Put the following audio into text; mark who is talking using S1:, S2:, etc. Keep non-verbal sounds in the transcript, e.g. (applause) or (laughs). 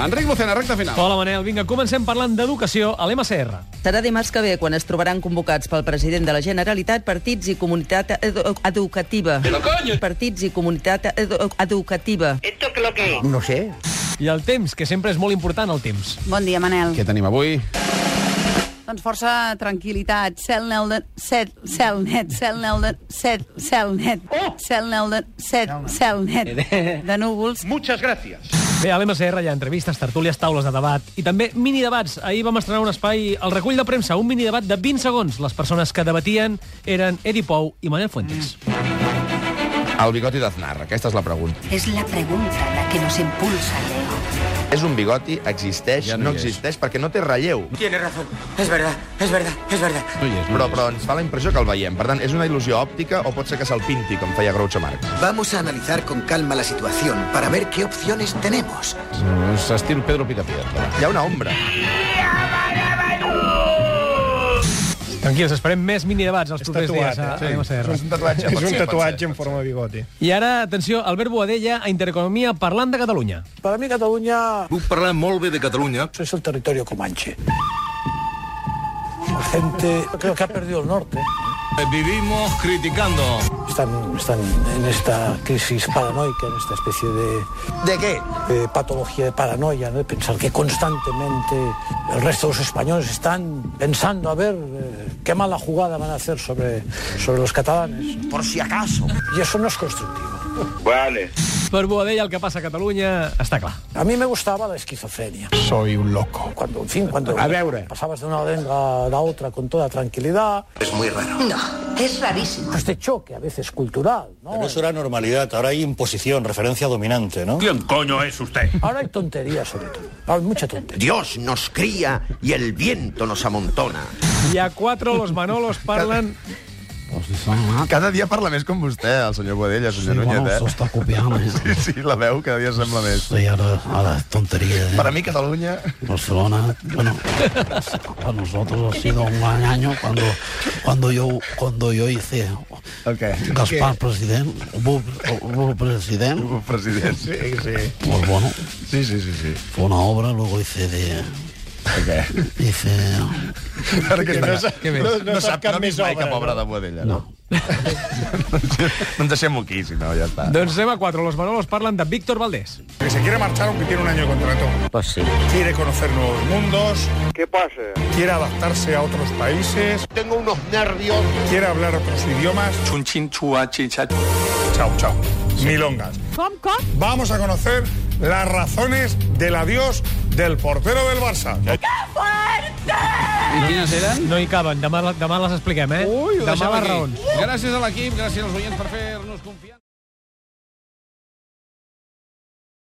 S1: Enric Lucena, recta final.
S2: Hola, Manel. Vinga, comencem parlant d'educació a l'MCR.
S3: Serà dimarts que ve quan es trobaran convocats pel president de la Generalitat partits i comunitat edu educativa.
S4: Però coño!
S3: Partits i comunitat edu educativa.
S4: ¿Esto qué es lo que es?
S5: No sé.
S2: I el temps, que sempre és molt important, el temps.
S6: Bon dia, Manel.
S1: Què tenim avui?
S6: Doncs força tranquil·litat. Cel nel de... Set, cel net, cel nel de... Set, cel net, cel nel de... Set, cel net. De núvols.
S7: Muchas gracias.
S2: Bé, a l'MCR hi ha entrevistes, tertúlies, taules de debat i també minidebats. Ahir vam estrenar un espai al recull de premsa, un minidebat de 20 segons. Les persones que debatien eren Edi Pou i Manel Fuentes.
S1: El bigoti d'Aznar, aquesta és la pregunta.
S8: Es la pregunta la que nos impulsa, Leo.
S5: És un bigoti, existeix,
S1: Ja
S5: ja
S1: no
S5: no, no
S1: hi és.
S5: existeix, perquè no té relleu.
S9: Tiene razón. Es verdad, es verdad, es verdad.
S1: No hi és,
S5: Però, però ens fa la impressió que el veiem. Per tant, és una il·lusió òptica o pot ser que se'l pinti, com feia Groucho Marx.
S9: Vamos a analizar con calma la situación para ver qué opciones tenemos.
S1: però... És estil Mm, Pedro Picapiedra.
S5: Hi ha una ombra. Mm.
S2: Tranquils, esperem més minidebats els propers dies a, a l'MCR.
S5: eh? És un tatuatge. És un tatuatge.
S2: I ara, atenció, Albert Boadella a Intereconomia parlant de Catalunya.
S10: Puc parlar molt bé de Catalunya.
S9: Es el territorio comanche. Gente creo que ha perdido el norte. ¿eh?
S10: Vivimos criticando.
S9: Están, están en esta crisis paranoica, en esta especie de,
S5: De què?
S9: de patología de paranoia, ¿no? de pensar que constantemente el resto de los españoles están pensando a ver eh, qué mala jugada van a hacer sobre, sobre los catalanes.
S5: Por si acaso.
S9: Y eso no es constructivo.
S2: Per Boadella el que passa a Catalunya està clar.
S9: A mí me gustaba la esquizofrenia.
S5: Soy un loco.
S9: Cuando, en fin, cuando
S5: A veure.
S9: pasabas de una arenga a la otra con toda tranquilidad,
S10: És muy raro.
S8: No, es rarísimo.
S9: este choque a veces cultural, ¿no?
S10: era normalidad, ahora hay imposición, referencia dominante, ¿no?
S7: ¿Quién coño es usted?
S9: Ahora hay tonterías sobre todo. Ahora hay mucha tontería.
S5: Dios nos cría y el viento nos amontona.
S2: I a quatre los
S5: (laughs)
S2: Manolos parlen...
S5: Ah, Cada dia parla més com vostè, el senyor Boadella, senyor sí, Núñez, eh?
S10: Està copiant, eh?
S5: (laughs) Sí, sí, la veu cada dia sembla més.
S10: Sí, ara, ara, tonteria.
S1: eh.
S5: Per a mi, Catalunya...
S10: Barcelona, bueno, para nosotros ha sido un gran año cuando, cuando, yo, cuando yo hice
S5: Ok.
S10: Gaspar presidente, hubo, hubo presidente,
S5: (laughs) President. Sí, sí.
S10: pues bueno,
S5: Sí, sí, sí, sí.
S10: fue una obra, luego hice de...
S5: Ok.
S10: Hice...
S5: Ara que no,
S2: Què més?
S5: no, no, no sap cap més mai cap obra de Boadella, no? (laughs) doncs deixem-ho aquí, si no, ja està.
S2: Doncs anem a quatre. Los Manolos parlen de Víctor Valdés.
S7: Que se quiere marchar aunque tiene un año de contrato.
S8: Pues sí.
S7: Quiere conocer nuevos mundos.
S9: ¿Qué pasa?
S7: Quiere adaptarse a otros países.
S5: Tengo unos nervios.
S7: Quiere hablar otros idiomas.
S10: Chun chin chua chicha.
S7: Chao, chao. Milongas.
S6: Com, com?
S7: Vamos a conocer las razones del adiós del portero del Barça.
S1: I quines eren?
S2: No hi caben. Demà, demà les expliquem, eh?
S1: Ui, ho
S2: demà
S1: deixem
S2: les
S1: aquí.
S2: raons.
S1: Gràcies a l'equip, gràcies als oients per fer-nos confiança.